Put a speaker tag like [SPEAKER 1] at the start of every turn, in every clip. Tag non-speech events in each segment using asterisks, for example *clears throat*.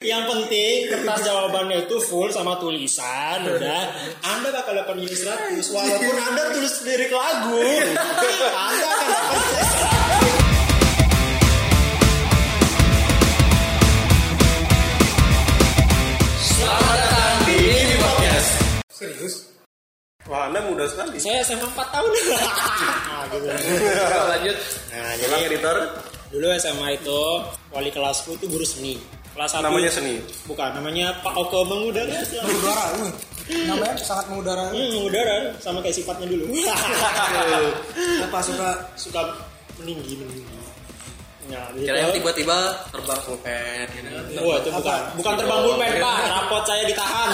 [SPEAKER 1] Yang penting kertas jawabannya itu full sama tulisan udah. Anda bakal dapat nilai 100 walaupun Anda tulis lirik lagu. Anda akan dapat nilai 100.
[SPEAKER 2] Selamat datang di Mini Podcast.
[SPEAKER 1] Serius?
[SPEAKER 3] Wah, Anda muda sekali.
[SPEAKER 1] Saya SMA 4 tahun. *laughs* Nah, gitu.
[SPEAKER 2] Lanjut.
[SPEAKER 1] Nah, jadi
[SPEAKER 3] Memang editor
[SPEAKER 1] dulu SMA itu wali kelasku itu guru seni. Kelas 1
[SPEAKER 3] namanya seni.
[SPEAKER 1] bukan namanya Pak Oko mengudara.
[SPEAKER 4] mengudara wih. namanya sangat mengudara
[SPEAKER 1] Hmm, mengudara sama kayak sifatnya dulu. *laughs*
[SPEAKER 4] apa suka
[SPEAKER 1] Suka meninggi meninggi. Nah, gitu.
[SPEAKER 2] Kirain tiba-tiba terbang pulpen gitu.
[SPEAKER 1] Wah itu bukan bukan terbang pulpen pak, rapot saya ditahan.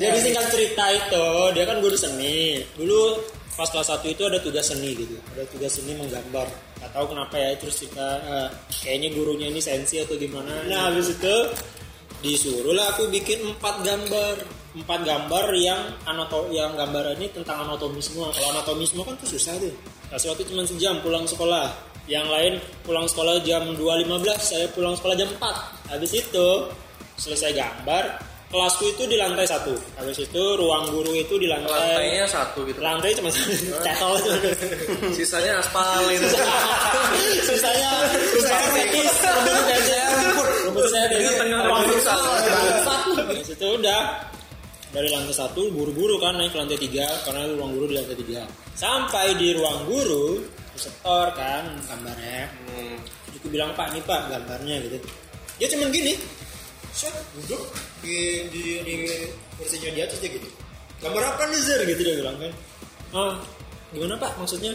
[SPEAKER 1] Jadi singkat cerita itu dia kan guru seni. Dulu pas kelas 1 itu ada tugas seni gitu, ada tugas seni menggambar. Gak tahu kenapa ya terus kita eh, kayaknya gurunya ini sensi atau gimana. Nah habis itu disuruhlah aku bikin empat gambar empat gambar yang anato yang gambarannya tentang anatomi semua kalau anatomi semua kan tuh susah tuh kasih waktu cuma sejam pulang sekolah yang lain pulang sekolah jam 2.15 saya pulang sekolah jam 4 habis itu selesai gambar kelasku itu di lantai satu habis itu ruang guru itu di lantai
[SPEAKER 2] Lantainya satu gitu.
[SPEAKER 1] lantai cuma cetol
[SPEAKER 2] Sisanya aspal gitu.
[SPEAKER 1] sisanya sisanya tipis rumput aja rumput saya di
[SPEAKER 2] tengah
[SPEAKER 1] ruang
[SPEAKER 2] rumput
[SPEAKER 1] futsal.
[SPEAKER 2] satu.
[SPEAKER 1] Bangsat. Habis itu Nah, udah dari lantai satu buru-buru kan naik ke lantai tiga karena ruang guru di lantai tiga sampai di ruang guru disetor kan gambarnya aku bilang pak nih pak gambarnya gitu dia cuman gini set duduk di di, di kursinya di atas dia gitu gambar apa nih Zer gitu dia bilang kan ah gimana pak maksudnya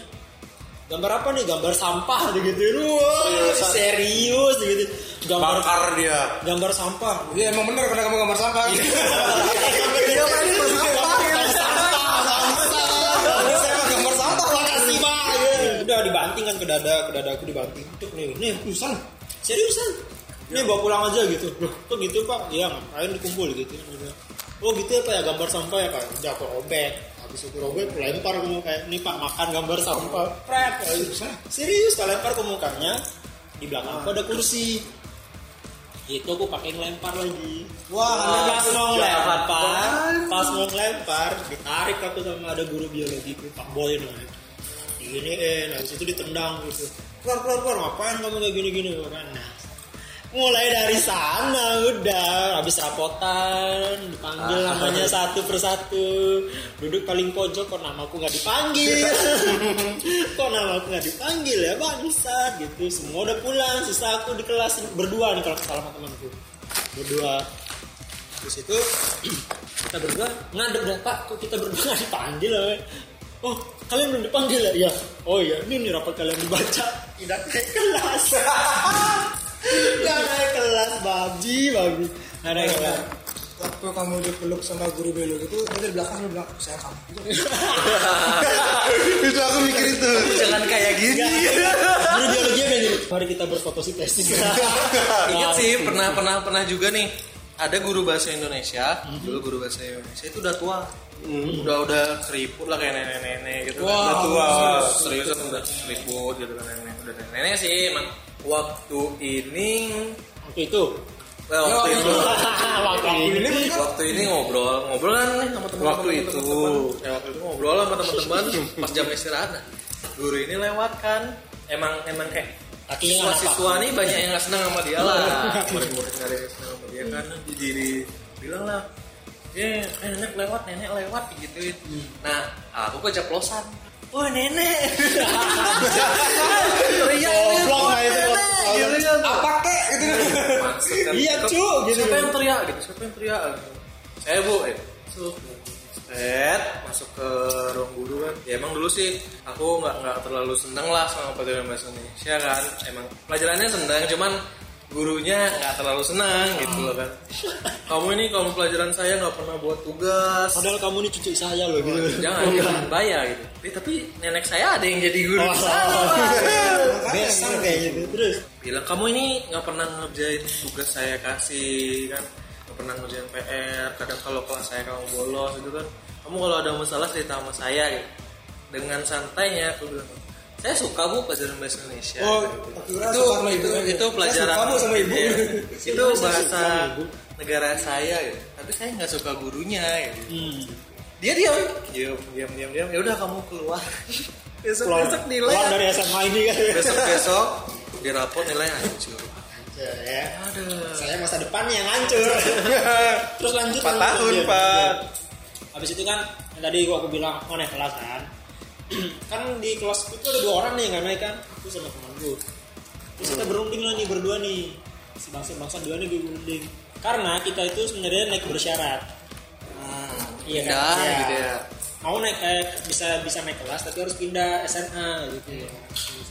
[SPEAKER 1] gambar apa nih gambar sampah gitu gitu wah
[SPEAKER 3] Seriusan?
[SPEAKER 1] serius gitu gambar
[SPEAKER 3] Bakar dia.
[SPEAKER 1] gambar sampah
[SPEAKER 4] ya emang bener karena kamu gambar sampah dia kan ini gambar sampah saya mah gambar sampah
[SPEAKER 1] makasih pak udah dibanting kan ke dada ke dada aku dibanting tuh nih nih
[SPEAKER 4] Usan.
[SPEAKER 1] seriusan ini bawa pulang aja gitu loh kok gitu pak ya ngapain dikumpul gitu Dia bilang, oh gitu ya pak ya gambar sampah ya pak udah aku robek habis itu robek aku lempar ke muka nih pak makan gambar sampah Pret. serius tak lempar ke mukanya di belakang aku ada kursi itu aku pakai ngelempar lagi
[SPEAKER 4] Wah,
[SPEAKER 1] Nah, pas mau
[SPEAKER 2] jahat
[SPEAKER 1] ngelempar pas mau ngelempar ditarik aku sama ada guru biologi aku, pak boy namanya ini eh habis itu ditendang gitu keluar keluar keluar ngapain kamu kayak gini gini kan nah mulai dari sana udah habis rapotan dipanggil
[SPEAKER 2] Ah.
[SPEAKER 1] namanya satu persatu duduk paling pojok kok namaku nggak dipanggil kok namaku nggak dipanggil ya bangsat gitu semua udah pulang sisa aku di kelas berdua nih kalau nggak salah sama temanku berdua terus itu kita berdua ngadep dah pak kok kita berdua nggak dipanggil ya weh?" oh kalian belum dipanggil ya iya oh iya ini nih rapat kalian dibaca tidak naik kelas *laughs* tidak naik kelas babi babi nggak naik kelas
[SPEAKER 4] waktu kamu dipeluk sama guru biologi itu dia dari belakang dia bilang saya kamu
[SPEAKER 3] itu aku mikir itu. Iya,
[SPEAKER 2] Jangan kayak gini.
[SPEAKER 1] guru biologi udah gini mari kita berfotosintesis *laughs*
[SPEAKER 2] Ingat sih pernah pernah pernah juga nih ada guru bahasa Indonesia
[SPEAKER 3] Hmm.
[SPEAKER 2] dulu guru bahasa Indonesia itu udah tua udah udah keriput lah kayak nenek nenek gitu kan. udah tua serius udah keriput gitu kan nenek udah nenek nenek sih emang waktu ini
[SPEAKER 1] waktu itu
[SPEAKER 2] well, waktu itu
[SPEAKER 1] *laughs* waktu ini
[SPEAKER 2] waktu ini ngobrol ngobrol kan nih sama teman waktu itu ya waktu itu ngobrol sama teman-teman pas jam istirahat nah, guru ini lewat kan emang emang kayak
[SPEAKER 1] kakinya nggak nampak
[SPEAKER 2] siswa siswa nih banyak yang nggak senang sama dia lah murid-murid nggak ada yang senang sama dia kan di diri bilang lah ya nenek lewat nenek lewat gitu nah aku keceplosan wah nenek *laughs* Iya, teriak
[SPEAKER 1] Goblok lah itu.
[SPEAKER 2] Gitu kan.
[SPEAKER 4] apa kek gitu
[SPEAKER 2] Maksud kan,
[SPEAKER 1] Iya, cu, gitu.
[SPEAKER 2] Siapa yang teriak gitu? Siapa yang teriak? Gitu. Saya bu, eh. Masuk. Set, masuk ke ruang guru kan. Ya emang dulu sih aku nggak nggak terlalu seneng lah sama pelajaran bahasa Indonesia kan. Emang pelajarannya seneng, cuman gurunya nggak terlalu senang gitu loh kan. Kamu ini kamu pelajaran saya nggak pernah buat tugas.
[SPEAKER 1] padahal kamu ini cucu saya loh gitu
[SPEAKER 2] Jangan, jangan bayar gitu. Eh, tapi nenek saya ada yang jadi
[SPEAKER 1] Oh.
[SPEAKER 2] guru.
[SPEAKER 1] *laughs* besar kayak gitu terus
[SPEAKER 2] bilang kamu ini nggak pernah ngerjain tugas saya kasih kan nggak pernah ngerjain PR kadang kalau kelas saya kamu bolos gitu kan kamu kalau ada masalah cerita sama saya gitu. dengan santainya aku bilang saya suka bu pelajaran bahasa Indonesia
[SPEAKER 4] Oh, aku kira
[SPEAKER 2] itu
[SPEAKER 4] suka sama gitu.
[SPEAKER 2] itu,
[SPEAKER 4] ibu.
[SPEAKER 2] itu
[SPEAKER 4] Saya
[SPEAKER 2] pelajaran
[SPEAKER 4] suka, Bu, sama ibu.
[SPEAKER 2] Iya. itu
[SPEAKER 1] Saya suka
[SPEAKER 2] bahasa
[SPEAKER 1] sama ibu.
[SPEAKER 2] negara saya ya tapi saya nggak suka gurunya gitu.
[SPEAKER 1] hmm.
[SPEAKER 2] dia diam diam diam diam diam ya udah kamu keluar besok
[SPEAKER 1] Keluar-
[SPEAKER 2] besok nilai
[SPEAKER 1] keluar dari SMA ini kan
[SPEAKER 2] besok besok di rapot nilai hancur
[SPEAKER 1] ya.
[SPEAKER 2] aduh
[SPEAKER 1] saya masa depannya yang hancur terus lanjut
[SPEAKER 2] Empat
[SPEAKER 1] lanjut,
[SPEAKER 2] tahun,
[SPEAKER 1] lanjut,
[SPEAKER 2] Pak.
[SPEAKER 1] lanjut. habis itu kan yang tadi gua aku bilang mau naik kelas kan *clears throat* kan di kelas itu ada dua orang nih yang nggak naik kan aku sama teman gua terus kita berunding lah nih berdua nih si bangsa bangsa dua nih gua berunding karena kita itu sebenarnya naik bersyarat Iya kan?
[SPEAKER 2] Pindah,
[SPEAKER 1] Iya.
[SPEAKER 2] gitu ya
[SPEAKER 1] mau naik eh, bisa bisa naik kelas tapi harus pindah SMA gitu
[SPEAKER 2] Iya.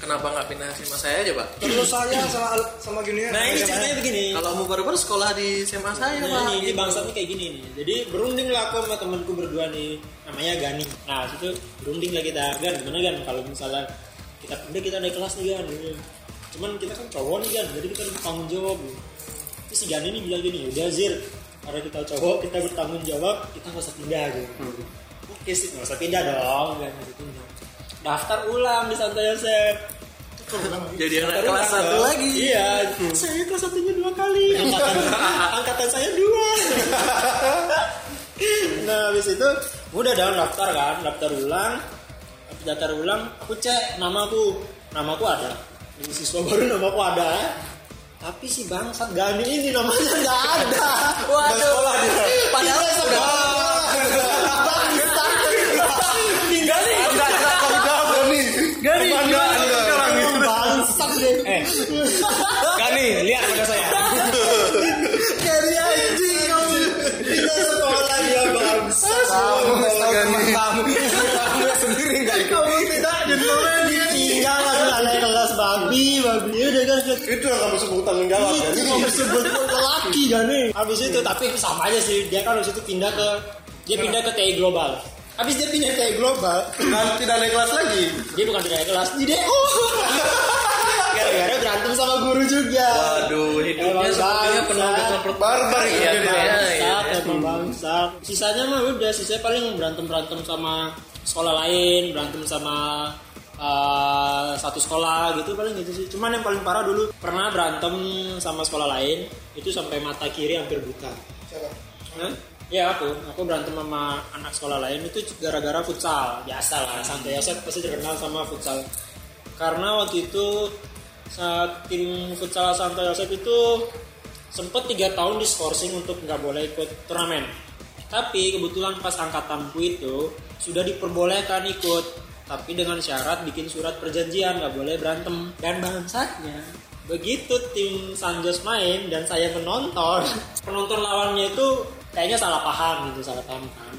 [SPEAKER 2] kenapa nggak pindah sama saya aja pak
[SPEAKER 4] Terus saya sama sama gini
[SPEAKER 1] nah
[SPEAKER 2] Iya,
[SPEAKER 1] ini ceritanya begini
[SPEAKER 2] kalau mau baru-baru sekolah di SMA saya
[SPEAKER 1] Nah,
[SPEAKER 2] pak Gitu.
[SPEAKER 1] ini, ini bangsatnya kayak gini nih. Jadi berunding lah aku sama temanku berdua nih. Namanya Gani. Nah, habis itu berunding lah kita. Gan, gimana Gan kalau misalnya kita pindah kita naik kelas nih Gan. Gitu. Cuman kita kan cowok nih Gan, jadi kita harus bertanggung jawab. Gitu. Terus si Gan ini bilang gini, udah Zir, karena kita cowok, kita bertanggung jawab, kita nggak usah pindah gitu. Oke sih, nggak usah pindah dong. Gan, gitu, pindah. Daftar ulang di santai Yosef
[SPEAKER 2] jadi anak
[SPEAKER 1] Baru
[SPEAKER 2] kelas
[SPEAKER 1] nambah.
[SPEAKER 2] satu lagi
[SPEAKER 1] Iya. Saya kelas satunya dua kali.
[SPEAKER 2] *laughs*
[SPEAKER 1] Angkatan, angkatan saya dua. nah habis itu udah dong daftar kan, daftar ulang, Habis daftar ulang, aku cek namaku, namaku ada. Di siswa baru namaku ada. Tapi si bangsat Gani ini namanya nggak ada.
[SPEAKER 2] Waduh.
[SPEAKER 1] sekolah dia.
[SPEAKER 2] Padahal
[SPEAKER 1] Dia
[SPEAKER 2] udah-
[SPEAKER 1] sekolah. Bangsat. Tinggal nih.
[SPEAKER 3] Gani, enggak,
[SPEAKER 1] Emang Bangsat deh. Eh,
[SPEAKER 5] Gani, lihat pada saya.
[SPEAKER 1] Kari anjing kamu. Kita sekolah ya, dia bangsa. Kamu tidak ditolong ditinggal karena Iya, anak kelas babi babi udah kan
[SPEAKER 3] Itu yang kamu sebut tanggung jawab kan?
[SPEAKER 1] itu mau disebut lelaki kan nih. Habis itu tapi sama aja sih dia kan habis itu pindah ke dia pindah ke TI Global. Habis dia pindah ke TI Global,
[SPEAKER 3] Dan tidak naik kelas lagi.
[SPEAKER 1] dia bukan pindah ke kelas di DO.
[SPEAKER 3] Iya,
[SPEAKER 1] Gara-gara berantem sama guru juga.
[SPEAKER 2] Waduh, hidupnya
[SPEAKER 1] Emang
[SPEAKER 2] sepertinya
[SPEAKER 1] bangsa.
[SPEAKER 2] penuh dengan per-
[SPEAKER 3] Barbar
[SPEAKER 2] Iya,
[SPEAKER 3] gitu dia.
[SPEAKER 2] Pak.
[SPEAKER 1] bangsat emang bangsat sisanya mah udah sisanya paling berantem berantem sama sekolah lain berantem sama eh, satu sekolah gitu paling gitu sih cuman yang paling parah dulu pernah berantem sama sekolah lain itu sampai mata kiri hampir buta Hah? Ya aku, aku berantem sama anak sekolah lain itu gara-gara futsal biasa lah, santai aja pasti terkenal sama futsal. Karena waktu itu saat tim futsal santai Yosep itu sempat tiga tahun di skorsing untuk nggak boleh ikut turnamen. Tapi kebetulan pas angkatanku itu sudah diperbolehkan ikut, tapi dengan syarat bikin surat perjanjian nggak boleh berantem. Dan bangsatnya begitu tim Sanjos main dan saya menonton *laughs* penonton lawannya itu kayaknya salah paham gitu salah paham kan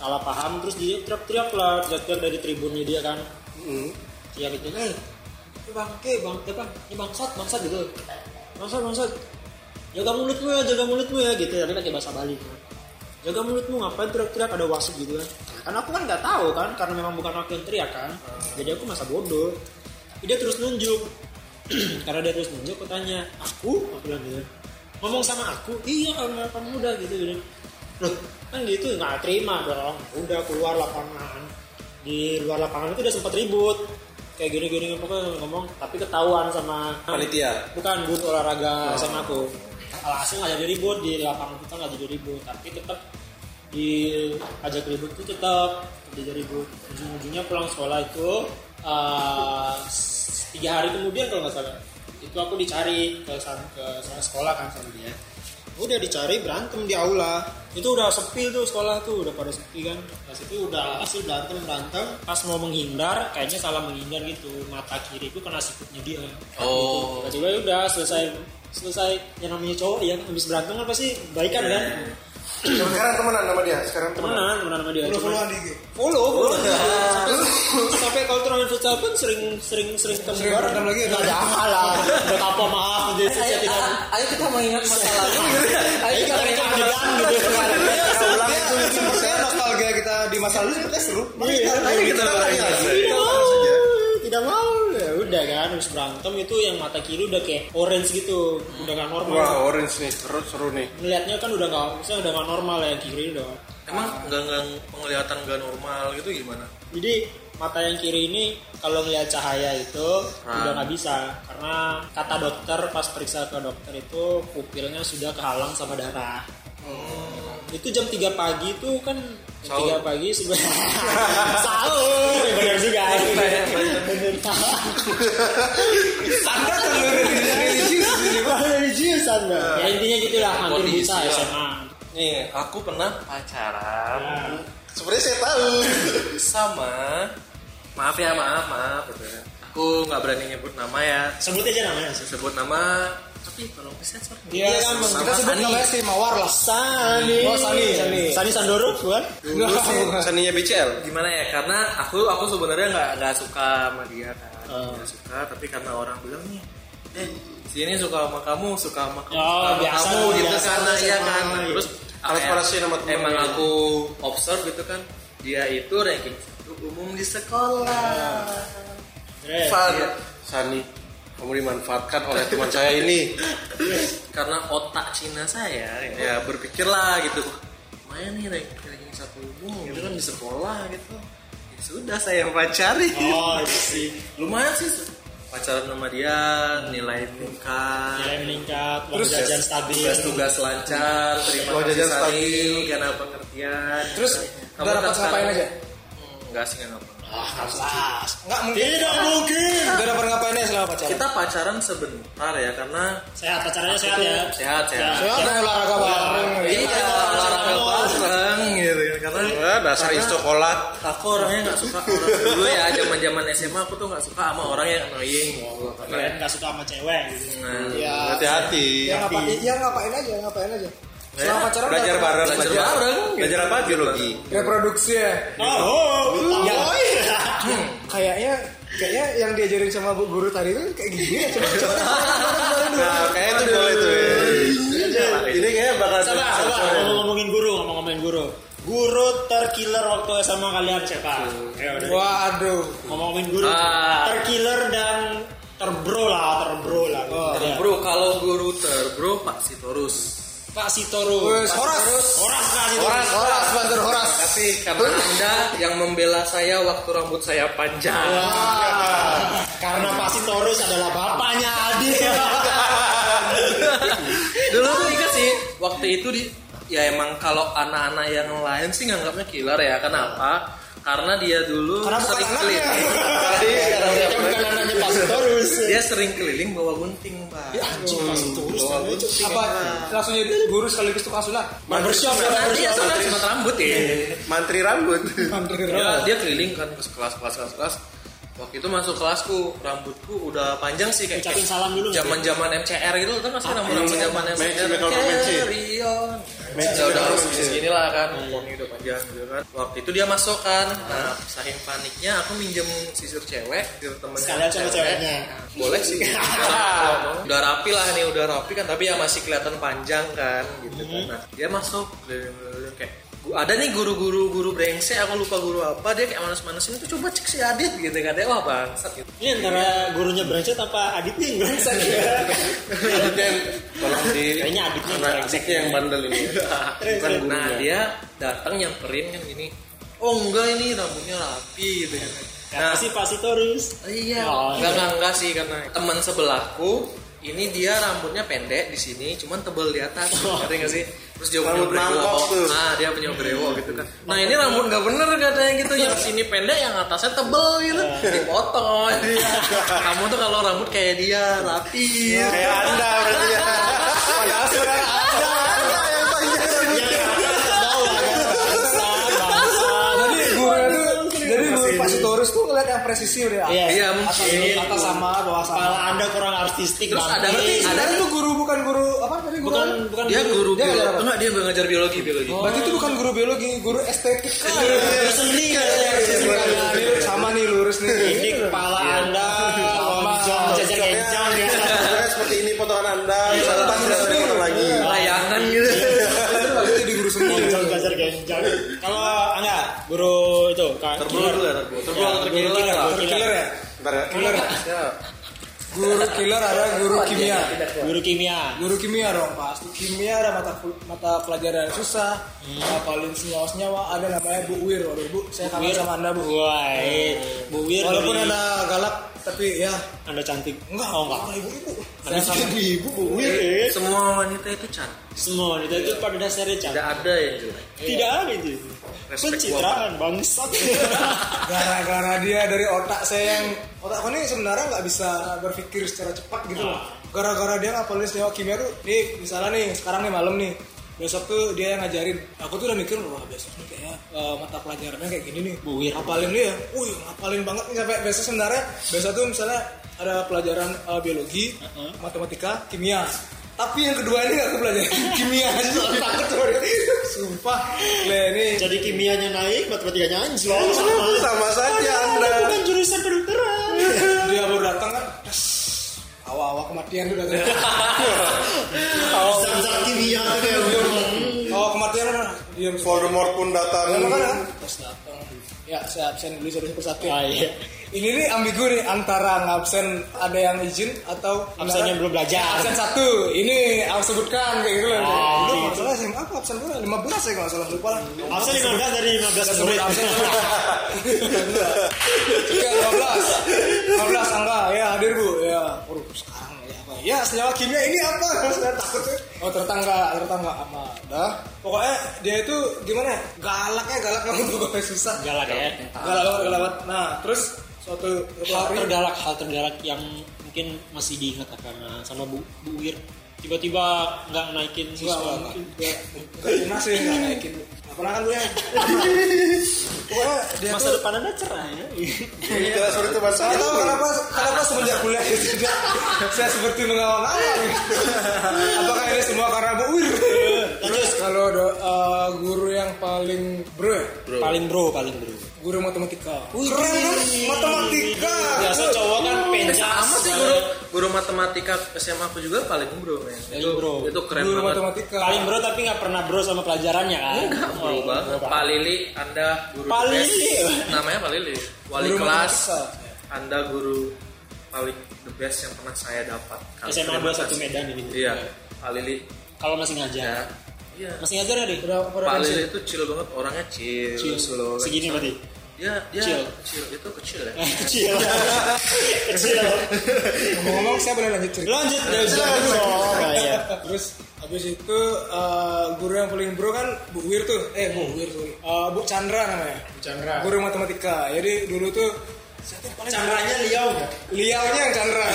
[SPEAKER 1] salah paham terus dia teriak-teriak lah teriak-teriak dari tribunnya dia kan teriak gitu eh ini bangke bang eh, bang ini bangsat bangsat gitu bangsat bangsat jaga mulutmu ya jaga mulutmu ya gitu tapi pakai bahasa Bali kan jaga mulutmu ngapain teriak-teriak ada wasit gitu kan karena aku kan nggak tahu kan karena memang bukan aku yang teriak kan jadi aku masa bodoh Tapi dia terus nunjuk *clears throat* karena dia terus nunjuk aku tanya aku aku bilang gitu ngomong sama aku iya kamu kamu muda gitu gitu loh kan gitu nggak terima dong udah keluar lapangan di luar lapangan itu udah sempat ribut kayak gini-gini pokoknya ngomong tapi ketahuan sama
[SPEAKER 3] Panitia.
[SPEAKER 1] bukan guru olahraga sama aku alhasil nggak jadi ribut di lapangan kita nggak jadi ribut tapi tetap di ajak ribut itu tetap jadi ribut ujung-ujungnya pulang sekolah itu eh, s- tiga hari kemudian kalau nggak salah itu aku dicari ke san- ke sana sekolah kan sama dia udah dicari berantem di aula itu udah sepi tuh sekolah tuh udah pada sepi kan pas itu udah hasil berantem berantem pas mau menghindar kayaknya salah menghindar gitu mata kiriku kena sikutnya dia
[SPEAKER 2] Oh.
[SPEAKER 1] tiba udah selesai selesai yang namanya cowok ya habis berantem kan pasti baikan kan
[SPEAKER 3] Sekarang temenan sama dia. Sekarang temenan.
[SPEAKER 1] temenan temenan sama dia
[SPEAKER 4] Lu
[SPEAKER 1] Cuman-
[SPEAKER 4] followan di IG.
[SPEAKER 1] follow follow Sampai- sampai kalau turnamen futsal pun sering sering sering ketemu
[SPEAKER 4] Sering berantem lagi ya?
[SPEAKER 1] nggak ada apa lah udah apa maaf jadi saya tidak
[SPEAKER 2] ayo kita mengingat masa lalu.
[SPEAKER 1] ayo kita rekam adegan gitu
[SPEAKER 2] Nah,
[SPEAKER 4] Ulang itu sepertinya nostalgia kita di masa lalu sepertinya seru.
[SPEAKER 1] Iya,
[SPEAKER 3] Ayo kita bareng aja.
[SPEAKER 1] tidak mau ya udah kan habis berantem itu yang mata kiri udah kayak orange gitu udah gak normal
[SPEAKER 3] Wah, orange nih. Seru, seru nih.
[SPEAKER 1] ngelihatnya kan udah nggak misalnya udah nggak normal ya yang kiri udah
[SPEAKER 2] Emang nggak nggak penglihatan nggak normal gitu gimana?
[SPEAKER 1] jadi mata yang kiri ini kalau melihat cahaya itu
[SPEAKER 2] Ah.
[SPEAKER 1] udah nggak bisa karena kata dokter pas periksa ke dokter itu pupilnya sudah kehalang sama darah. Itu jam 3 pagi itu kan jam
[SPEAKER 2] Sahur.
[SPEAKER 1] 3 pagi sebenarnya *laughs* sahur Ya, benar juga. Iya,
[SPEAKER 5] Anda terlalu religius.
[SPEAKER 1] Iya, Religius Anda. Ya intinya gitulah hampir
[SPEAKER 2] Body
[SPEAKER 1] buta
[SPEAKER 2] issue lah.
[SPEAKER 1] SMA.
[SPEAKER 2] Nih, aku pernah pacaran
[SPEAKER 1] Nah,
[SPEAKER 3] Sebenarnya saya tahu.
[SPEAKER 2] sama maaf ya maaf maaf gitu ya. Aku nggak berani nyebut nama ya.
[SPEAKER 1] Sebut aja namanya. Sus.
[SPEAKER 2] Sebut nama tapi tolong sensor.
[SPEAKER 4] Iya, kan, Bang. kita
[SPEAKER 2] sama
[SPEAKER 4] sebut
[SPEAKER 2] Sani.
[SPEAKER 4] namanya si Mawar lah.
[SPEAKER 1] Sani.
[SPEAKER 4] Oh, Sani, Sani.
[SPEAKER 1] Sani Sandoro bukan?
[SPEAKER 3] Dulu sih seninya BCL.
[SPEAKER 2] gimana ya karena aku aku sebenarnya nggak nggak suka sama dia kan nggak suka tapi karena orang bilang nih eh sini suka sama kamu suka sama kamu
[SPEAKER 1] Oh,
[SPEAKER 2] suka sama
[SPEAKER 1] biasa,
[SPEAKER 2] kamu gitu
[SPEAKER 1] biasa
[SPEAKER 2] karena iya
[SPEAKER 1] sama
[SPEAKER 2] kan
[SPEAKER 1] orang.
[SPEAKER 2] terus
[SPEAKER 3] Transparansi
[SPEAKER 2] emang,
[SPEAKER 3] sama temen.
[SPEAKER 2] emang aku observe gitu kan dia itu ranking satu umum di sekolah
[SPEAKER 1] Dre.
[SPEAKER 2] Iya.
[SPEAKER 3] Fun. Sani, kamu dimanfaatkan oleh teman saya ini.
[SPEAKER 2] karena otak Cina saya ya, berpikir lah gitu main nih ranking, ranking satu umum gitu kan di sekolah gitu ya sudah saya pacari
[SPEAKER 1] Oh, itu sih.
[SPEAKER 2] lumayan sih pacaran sama dia nilai meningkat
[SPEAKER 1] Nilai meningkat, Iya, uang jajan stabil. Iya.
[SPEAKER 2] tugas-tugas lancar terima
[SPEAKER 3] Uang
[SPEAKER 2] kasih
[SPEAKER 3] jajan
[SPEAKER 2] Sari
[SPEAKER 3] stabil.
[SPEAKER 2] karena pengertian
[SPEAKER 4] Terus
[SPEAKER 2] Kamu
[SPEAKER 4] udah
[SPEAKER 2] kan
[SPEAKER 4] rapat
[SPEAKER 2] sekarang-
[SPEAKER 4] ngapain aja?
[SPEAKER 2] Hmm, enggak sih enggak apa
[SPEAKER 1] Kelas.
[SPEAKER 4] Enggak mungkin.
[SPEAKER 1] Ah, Tidak mungkin.
[SPEAKER 4] Udah dapat ngapain aja selama pacaran?
[SPEAKER 2] kita pacaran sebentar ya karena
[SPEAKER 1] Sehat, pacarnya sehat ya.
[SPEAKER 2] sehat sehat
[SPEAKER 4] Saya udah olahraga bareng.
[SPEAKER 2] iya olahraga bareng gitu kan. karena
[SPEAKER 3] Wah, dasar istokolat.
[SPEAKER 2] aku orangnya ya, nggak suka orang dulu ya zaman zaman SMA aku tuh nggak suka sama orang yang annoying
[SPEAKER 1] Kalian nggak suka sama cewek. gitu.
[SPEAKER 2] nah,
[SPEAKER 3] Hati-hati.
[SPEAKER 4] Ya ngapain? Ya ngapain aja? Ngapain aja? Selama pacaran
[SPEAKER 3] Belajar
[SPEAKER 4] udah-
[SPEAKER 3] bareng.
[SPEAKER 2] Belajar
[SPEAKER 3] Belajar
[SPEAKER 2] bareng.
[SPEAKER 3] Belajar apa? Biologi.
[SPEAKER 4] Reproduksi ya.
[SPEAKER 1] Oh, oh, ya.
[SPEAKER 4] kayaknya kayaknya yang diajarin sama bu guru tadi itu kayak gini ya coba coba
[SPEAKER 3] Nah, kayak itu boleh tuh. ya. Ini kayaknya bakal
[SPEAKER 1] Coba, coba ngomong- ngomongin guru, ngomong-ngomongin guru. Guru terkiller waktu sama kalian siapa? Ayo, dari-
[SPEAKER 4] waduh
[SPEAKER 1] Ngomongin guru,
[SPEAKER 2] Ah.
[SPEAKER 1] terkiller dan terbro lah, terbro lah. Gitu ya.
[SPEAKER 2] Nah, bro kalau guru terbro Pak Sitorus
[SPEAKER 1] Pak Sitoro.
[SPEAKER 4] Wes, horas
[SPEAKER 1] Orang Pak Sitoro.
[SPEAKER 4] horas horas banter horas
[SPEAKER 2] Tapi karena anda yang membela saya waktu rambut saya panjang.
[SPEAKER 1] Ah, Karena Pak Sitorus adalah bapaknya Adi.
[SPEAKER 2] Dulu tuh ingat sih, waktu itu di ya emang kalau anak-anak yang lain sih nganggapnya killer ya. Kenapa? Karena dia dulu
[SPEAKER 4] Karena bukan
[SPEAKER 2] sering
[SPEAKER 4] anaknya.
[SPEAKER 2] keliling.
[SPEAKER 1] Dia Iya, bukan anaknya Pak Sitorus. Ya,
[SPEAKER 2] Dia sering keliling bawa gunting, Pak.
[SPEAKER 4] Ya,
[SPEAKER 1] Anjing,
[SPEAKER 2] Hmm,
[SPEAKER 1] Pak Sitorus.
[SPEAKER 4] apa langsung jadi guru sekaligus tukang sulap
[SPEAKER 1] Barbershop,
[SPEAKER 2] Karena dia
[SPEAKER 1] barbershop.
[SPEAKER 2] suka cut rambut ya.
[SPEAKER 3] Mantri rambut.
[SPEAKER 2] Dia, dia keliling kan ke kelas-kelas kelas-kelas. Waktu itu masuk kelasku, rambutku udah panjang sih kayak
[SPEAKER 1] Ucapin salam dulu. Ah, iya,
[SPEAKER 2] zaman zaman MCR gitu kan masih nama nama zaman
[SPEAKER 3] Magic
[SPEAKER 2] MCR
[SPEAKER 3] Mechanical Romancy.
[SPEAKER 2] Carry on. Eh, Ya Udah udah harus segini lah kan poni udah panjang gitu kan waktu itu dia masuk kan nah saking paniknya aku minjem sisir cewek sisir temen
[SPEAKER 1] Sekalian sama ceweknya.
[SPEAKER 2] boleh sih Kalau mau. *laughs* udah rapi lah nih udah rapi kan tapi ya masih kelihatan panjang kan gitu kan
[SPEAKER 3] Hmm.
[SPEAKER 2] nah, dia masuk keliling-keliling kayak "Gu- ada nih guru-guru guru brengsek aku lupa guru apa dia kayak manas-manasin itu coba cek si Adit gitu kan dia wah bangsat gitu
[SPEAKER 1] Ini antara gurunya brengsek apa aditnya yang brengsek ya?
[SPEAKER 3] Dan tolong di
[SPEAKER 1] Kayaknya aditnya yang
[SPEAKER 3] anak
[SPEAKER 1] brengsek
[SPEAKER 3] adiknya yang bandel ini. ya.
[SPEAKER 2] *laughs* nah
[SPEAKER 3] Bukan gurunya.
[SPEAKER 2] dia datang nyamperin kan gini oh enggak ini rambutnya rapi gitu kan nah
[SPEAKER 1] Kasih Pak Sitorus.
[SPEAKER 2] iya
[SPEAKER 1] Oh,
[SPEAKER 2] enggak enggak enggak sih karena teman sebelahku ini dia rambutnya pendek di sini cuman tebel di atas ngerti nggak sih terus dia punya
[SPEAKER 3] Rambut mangkok
[SPEAKER 2] brewo
[SPEAKER 3] tuh.
[SPEAKER 2] nah dia punya brewo gitu kan nah ini rambut nggak bener katanya gitu yang sini pendek yang atasnya tebel gitu dipotong *laughs* kamu tuh kalau rambut kayak dia rapi
[SPEAKER 3] Kayak Iya, anda berarti ya. Padahal sebenarnya anda. Anda yang panjang rambutnya.
[SPEAKER 4] jadi guru itu jadi guru pas turus tuh ngeliat yang presisi udah
[SPEAKER 1] Iya.
[SPEAKER 2] iya
[SPEAKER 4] atas
[SPEAKER 2] mungkin
[SPEAKER 4] atas sama bawah sama
[SPEAKER 1] Kepala Anda kurang artistik
[SPEAKER 2] Terus
[SPEAKER 1] Bang.
[SPEAKER 2] ada berarti
[SPEAKER 4] ada itu Nah, guru bukan guru apa tadi guru
[SPEAKER 1] Iya. bukan
[SPEAKER 4] apa?
[SPEAKER 1] bukan
[SPEAKER 2] dia guru
[SPEAKER 4] Dia
[SPEAKER 2] biologi.
[SPEAKER 4] Oh. ngajar apa?
[SPEAKER 2] Enggak, dia ngajar biologi biologi.
[SPEAKER 4] berarti itu bukan guru biologi guru estetik
[SPEAKER 1] Guru seni
[SPEAKER 2] Iya.
[SPEAKER 1] kan saya.
[SPEAKER 4] Nah, ini sama nih lurus nih
[SPEAKER 1] iya. Ini kepala Anda lonjong jajar enjong ya.
[SPEAKER 3] Sebenarnya seperti ini potongan anda. Misalnya pas tidak ada orang lagi.
[SPEAKER 2] Layangan gitu.
[SPEAKER 4] itu di guru semua
[SPEAKER 1] Lonjong jajar enjong. Kalau enggak guru itu kan.
[SPEAKER 2] Terburu dulu ya, terburu. Terburu atau
[SPEAKER 1] Guru
[SPEAKER 2] terkiler
[SPEAKER 1] killer,
[SPEAKER 2] lah.
[SPEAKER 1] guru killer.
[SPEAKER 4] killer ya
[SPEAKER 3] Bentar ya.
[SPEAKER 4] killer ya guru killer ada
[SPEAKER 1] Iya,
[SPEAKER 4] guru kimia
[SPEAKER 1] Guru kimia.
[SPEAKER 4] guru kimia dong pasti kimia ada mata mata pelajaran yang susah
[SPEAKER 1] Hmm.
[SPEAKER 4] ngapalin senyawa senyawa ada namanya bu wir waduh bu saya kangen
[SPEAKER 1] Wir.
[SPEAKER 4] sama anda bu
[SPEAKER 1] Wah, eh, Bu Wir
[SPEAKER 4] walaupun
[SPEAKER 1] dari-
[SPEAKER 4] anda galak tapi ya
[SPEAKER 1] Anda cantik.
[SPEAKER 4] enggak
[SPEAKER 1] oh, enggak.
[SPEAKER 4] ibu ibu
[SPEAKER 1] Anda
[SPEAKER 4] saya kangen
[SPEAKER 1] cantik.
[SPEAKER 4] ibu bu wir
[SPEAKER 1] Iya.
[SPEAKER 2] Semua wanita itu cantik.
[SPEAKER 1] Semua wanita itu pada dasarnya cantik.
[SPEAKER 2] Tidak ada yang jelek.
[SPEAKER 1] Tidak ada itu.
[SPEAKER 2] Respect
[SPEAKER 1] Pencitraan bangsat.
[SPEAKER 4] gara-gara dia dari otak saya yang otak aku ini sebenarnya nggak bisa berpikir secara cepat gitu loh gara-gara dia ngapalin senyawa kimia tuh nih misalnya nih sekarang nih malam nih besok tuh dia yang ngajarin aku tuh udah mikir wah besok nih kayaknya eh, mata pelajarannya kayak gini nih
[SPEAKER 1] Buwir.
[SPEAKER 4] ngapalin dia wih ngapalin banget nih sampai besok sebenarnya besok tuh misalnya ada pelajaran eh, biologi matematika kimia tapi yang kedua ini aku pelajarin *laughs* kimia aja soalnya takut sama dia. sumpah le ini
[SPEAKER 1] Jadi kimianya naik, matematikanya anjlok sama.
[SPEAKER 3] sama saja anda
[SPEAKER 1] Anda bukan jurusan kedokteran.
[SPEAKER 4] dia baru datang kan tes awal-awal kematian tuh datang
[SPEAKER 1] Zat-zat kimia kayak
[SPEAKER 4] awal kematian udah diam
[SPEAKER 3] Voldemort pun datang Iya,
[SPEAKER 4] Lama kan kan? terus datang ya saya absen dulu satu persatu
[SPEAKER 1] Ah, iya.
[SPEAKER 4] ini nih ambigu nih antara ngabsen ada yang izin atau
[SPEAKER 1] Absen yang belum belajar.
[SPEAKER 4] absen satu ini aku sebutkan kayak gitu loh
[SPEAKER 1] Ah,
[SPEAKER 4] dulu
[SPEAKER 1] gitu.
[SPEAKER 4] masalah SMA aku absen berapa 15 ya kalau nggak salah lupa lah
[SPEAKER 1] Absen 15 dari 15
[SPEAKER 4] sebut
[SPEAKER 1] murid.
[SPEAKER 4] absen Oke, 15 15 angka ya hadir bu ya waduh sekarang ya apa ya senyawa kimia ini apa saya takut ya. oh tertangga tertangga apa dah pokoknya dia itu gimana ya? galaknya galak banget pokoknya susah
[SPEAKER 1] Galak ya.
[SPEAKER 4] galak banget galak banget nah terus suatu
[SPEAKER 1] Hal
[SPEAKER 4] hari
[SPEAKER 1] tergalak, hal tergalak yang mungkin masih diingat karena sama Bu, Bu Wir. Tiba-tiba nggak naikin
[SPEAKER 4] Enggak,
[SPEAKER 1] siswa.
[SPEAKER 4] enggak. Enggak lunas sih, enggak naikin. Enggak pernah kan gue *laughs* ya. Pokoknya dia
[SPEAKER 1] Masa
[SPEAKER 4] tuh
[SPEAKER 1] depan anda cerah ya.
[SPEAKER 3] tidak seperti itu bahasa
[SPEAKER 4] Gak tahu kenapa kenapa semenjak kuliah itu tidak saya seperti mengawang-awang. Apakah ini semua karena Bu Wir? Terus kalau ada eh, guru yang paling bro, ya?
[SPEAKER 1] Paling bro, paling bro.
[SPEAKER 4] guru matematika. Keren Iya, kan? Matematika.
[SPEAKER 1] Biasa cowok kan penjas.
[SPEAKER 2] Sama sih guru guru matematika SMA aku juga paling bro men. Itu,
[SPEAKER 1] bro.
[SPEAKER 2] itu keren
[SPEAKER 4] Guru
[SPEAKER 2] banget.
[SPEAKER 4] matematika.
[SPEAKER 1] Paling bro tapi nggak pernah bro sama pelajarannya kan?
[SPEAKER 2] Enggak bro
[SPEAKER 1] Oh,
[SPEAKER 2] banget. Pak Lili, Anda guru
[SPEAKER 1] Pak
[SPEAKER 2] the best.
[SPEAKER 1] Lili.
[SPEAKER 2] Namanya Pak Lili. Wali
[SPEAKER 4] Guru
[SPEAKER 2] kelas.
[SPEAKER 4] matematika.
[SPEAKER 2] Anda guru paling the best yang pernah saya dapat. Kami
[SPEAKER 1] SMA 21
[SPEAKER 2] terima kasih.
[SPEAKER 1] Medan ini.
[SPEAKER 2] Iya, Pak Lili.
[SPEAKER 1] Kalau masih ngajar.
[SPEAKER 2] Ya. Iya.
[SPEAKER 1] Masih ngajar nggak deh?
[SPEAKER 4] Udah pada
[SPEAKER 2] Pak
[SPEAKER 4] pensiun.
[SPEAKER 2] Lili itu chill banget orangnya chill,
[SPEAKER 1] Kecil.
[SPEAKER 2] slow.
[SPEAKER 1] Segini berarti.
[SPEAKER 2] Ya, ya,
[SPEAKER 1] Chill.
[SPEAKER 2] chill. itu kecil ya.
[SPEAKER 1] Kecil. Kecil.
[SPEAKER 4] Ngomong-ngomong saya boleh lanjut cerita.
[SPEAKER 1] Lanjut deh. Oh, iya.
[SPEAKER 4] Terus habis itu eh, guru yang paling bro kan Bu Wir tuh. Eh Bu Wir sorry. Eh, Bu Chandra namanya. Bu Chandra. Guru matematika. Jadi dulu tuh saya tuh paling
[SPEAKER 1] Caranya liau.
[SPEAKER 4] liaunya yang Chandra.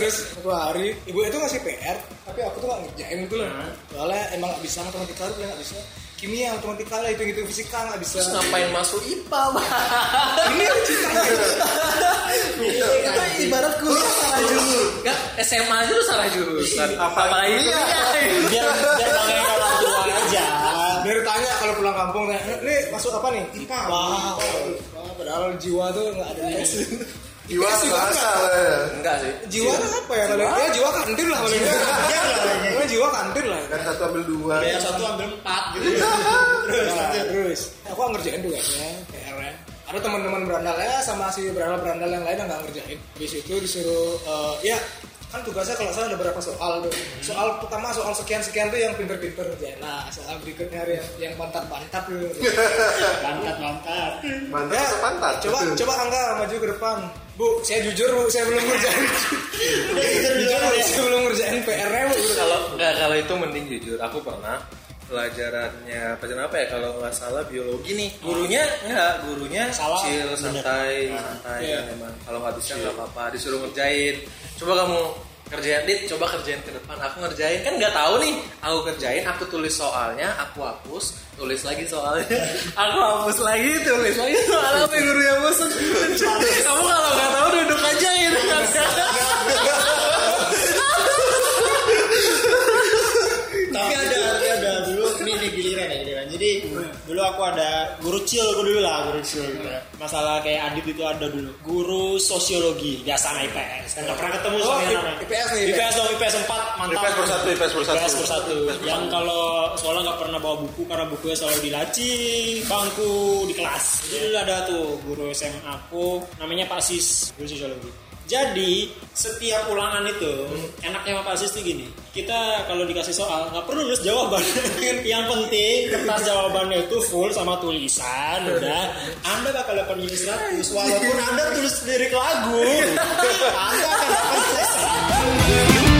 [SPEAKER 4] Terus satu hari ibu itu ngasih PR, tapi aku tuh gak ngerjain gitu loh. Soalnya emang gak bisa matematika tuh gak bisa. Kimia, matematika lah, itu gitu fisika gak bisa.
[SPEAKER 2] Terus ngapain masuk IPA, Pak? *laughs*
[SPEAKER 4] Ini yang cerita gitu. Iya,
[SPEAKER 2] Itu ibarat kuliah salah jurusan. Enggak, SMA aja lu salah jurusan. Apalagi kuliah.
[SPEAKER 1] Biar *laughs* biar bangga orang tua aja.
[SPEAKER 4] Dari tanya Iya. kalau pulang kampung, tanya, ini masuk apa nih? IPA.
[SPEAKER 1] Wah.
[SPEAKER 4] Wah, Padahal jiwa tuh gak ada. Iya,
[SPEAKER 3] jiwa bahasa ya.
[SPEAKER 2] Enggak sih.
[SPEAKER 4] jiwa tuh apa ya kalau ya jiwa kantin lah paling jiwa kantin lah jiwa kantin lah
[SPEAKER 3] kan satu ambil dua
[SPEAKER 1] Yang satu ambil empat gitu.
[SPEAKER 4] Nah, terus aku nggak ngerjain tugasnya PR nya ada teman-teman berandalnya sama si berandal berandal yang lain yang nggak ngerjain di situ disuruh eh, ya kan tugasnya kalau saya ada berapa soal tuh soal pertama soal sekian sekian tuh yang pinter-pinter ngerjain nah soal berikutnya ada yang yang pantat-pantat tuh
[SPEAKER 1] Mantap mantap.
[SPEAKER 3] mantap
[SPEAKER 4] ya
[SPEAKER 3] atau pantat
[SPEAKER 4] coba coba angga maju ke depan bu saya jujur bu saya belum ngerjain jujur bu saya belum ngerjain PR nya bu
[SPEAKER 2] kalau nggak kalau itu mending jujur aku pernah pelajarannya pelajaran apa ya kalau nggak salah biologi nih gurunya nggak gurunya
[SPEAKER 1] Salah,
[SPEAKER 2] chill
[SPEAKER 1] bener.
[SPEAKER 2] santai santai
[SPEAKER 4] Iya.
[SPEAKER 2] kan emang kalau nggak bisa nggak apa-apa disuruh ngerjain coba kamu kerjain dit coba kerjain ke depan aku ngerjain kan nggak tahu nih aku kerjain aku tulis soalnya aku hapus tulis lagi soalnya *laughs* aku hapus lagi tulis lagi soalnya apa yang gurunya bosan kamu kalau nggak tahu duduk aja ini *laughs*
[SPEAKER 1] Tapi ada tapi ada dulu ini di giliran ya giliran. Jadi dulu aku ada guru chill aku dulu lah guru chill. gitu ya. Masalah kayak Adit itu ada dulu. Guru sosiologi biasa anak IPS. Kan nggak pernah ketemu sama yang namanya.
[SPEAKER 4] IPS nih IPS.
[SPEAKER 1] IPS dong IPS 4 mantap.
[SPEAKER 3] IPS bersatu, IPS bersatu.
[SPEAKER 1] IPS bersatu. Yang kalau sekolah nggak pernah bawa buku karena bukunya selalu di laci, bangku, di kelas. Jadi dulu ada tuh guru SMA aku namanya Pak Sis, guru sosiologi. Jadi setiap ulangan itu enaknya sama Pak Asis tuh gini. Kita kalau dikasih soal nggak perlu nulis jawaban. *laughs* Yang penting kertas jawabannya itu full sama tulisan udah. Anda bakal dapat nilai 100 walaupun Anda tulis lirik lagu. Anda akan dapat nilai 100.